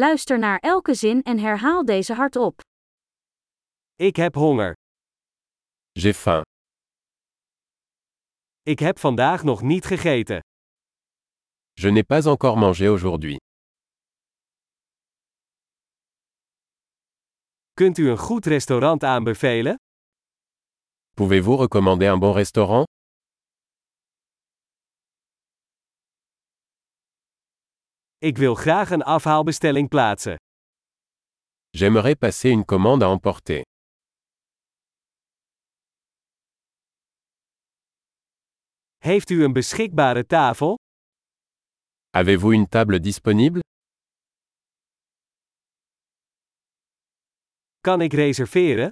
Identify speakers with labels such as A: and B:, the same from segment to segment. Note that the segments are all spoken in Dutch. A: Luister naar elke zin en herhaal deze hardop.
B: Ik heb honger.
C: J'ai faim.
B: Ik heb vandaag nog niet gegeten.
C: Je n'ai pas encore mangé aujourd'hui.
B: Kunt u een goed restaurant aanbevelen?
C: Pouvez-vous recommander un bon restaurant
B: Ik wil graag een afhaalbestelling plaatsen.
C: J'aimerais passer une commande à emporter.
B: Heeft u een beschikbare tafel?
C: Avez-vous une table disponible
B: Kan ik reserveren?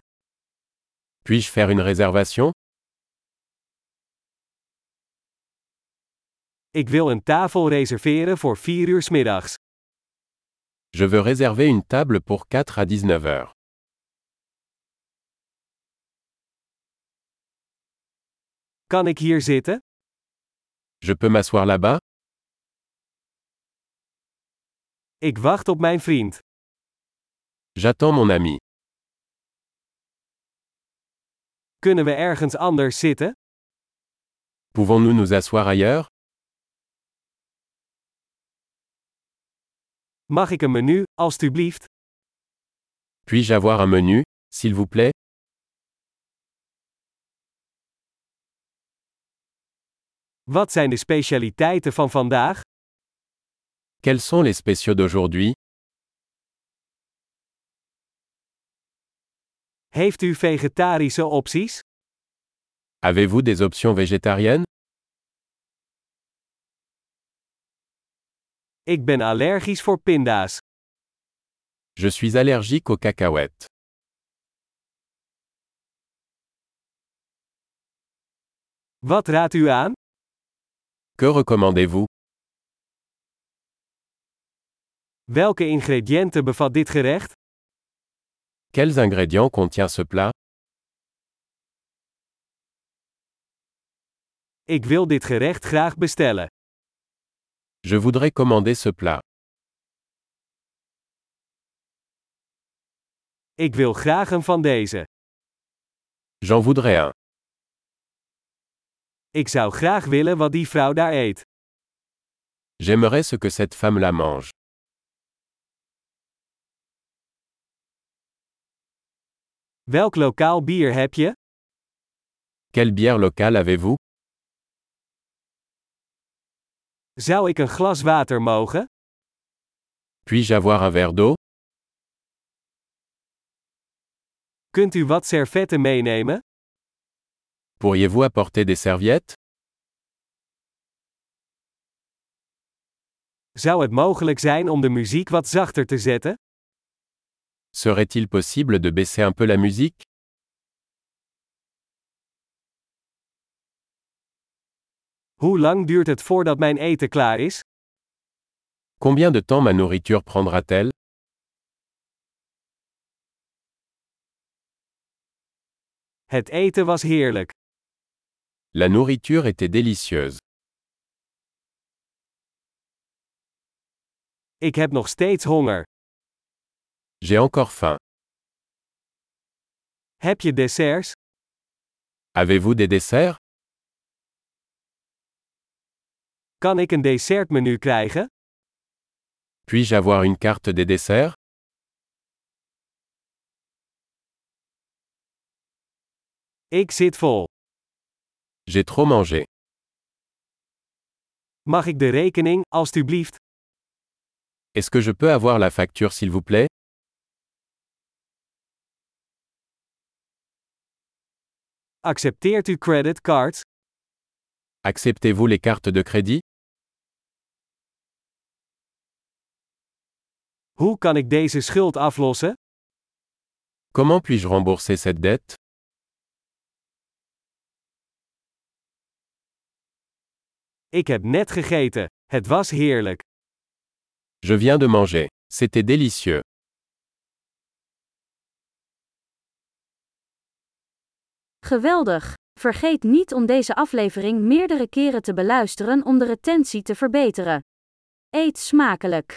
C: Puis-je faire une réservation
B: Ik wil een tafel reserveren voor 4 uur 's middags.
C: Je veux réserver une table pour 4 à 19 heures.
B: Kan ik hier zitten?
C: Je peux m'asseoir là-bas
B: Ik wacht op mijn vriend.
C: J'attends mon ami.
B: Kunnen we ergens anders zitten?
C: Pouvons-nous nous asseoir ailleurs
B: Mag ik een menu, alstublieft?
C: Puis-je avoir un menu, s'il vous plaît
B: Wat zijn de specialiteiten van vandaag?
C: Quels sont les spéciaux d'aujourd'hui
B: Heeft u vegetarische opties?
C: Avez-vous des options végétariennes
B: Ik ben allergisch voor pinda's.
C: Je suis allergique aux cacahuètes.
B: Wat raadt u aan?
C: Que recommandez-vous
B: Welke ingrediënten bevat dit gerecht?
C: Quels ingrédients contient ce plat
B: Ik wil dit gerecht graag bestellen.
C: Je voudrais commander ce plat.
B: Ik wil graag een van deze.
C: J'en voudrais un.
B: Ik zou graag willen wat die vrouw daar eet.
C: J'aimerais ce que cette femme la mange.
B: Welk lokaal bier heb je?
C: Quelle bière locale avez-vous
B: Zou ik een glas water mogen?
C: Puis-je avoir un verre d'eau
B: Kunt u wat servetten meenemen?
C: Pourriez-vous apporter des serviettes
B: Zou het mogelijk zijn om de muziek wat zachter te zetten?
C: Serait-il possible de baisser un peu la musique
B: Hoe lang duurt het voordat mijn eten klaar is?
C: Combien de temps ma nourriture prendra-t-elle
B: Het eten was heerlijk.
C: La nourriture était délicieuse.
B: Ik heb nog steeds honger.
C: J'ai encore faim.
B: Heb je desserts?
C: Avez-vous des desserts
B: Kan ik een dessertmenu krijgen?
C: Puis-je avoir une carte des desserts
B: Ik zit vol.
C: J'ai trop mangé.
B: Mag ik de rekening, alstublieft?
C: Est-ce que je peux avoir la facture s'il vous plaît
B: Accepteert u creditcards?
C: Acceptez-vous les cartes de crédit
B: Hoe kan ik deze schuld aflossen?
C: Comment puis-je rembourser cette dette
B: Ik heb net gegeten. Het was heerlijk.
C: Je viens de manger. C'était délicieux.
A: Geweldig! Vergeet niet om deze aflevering meerdere keren te beluisteren om de retentie te verbeteren. Eet smakelijk!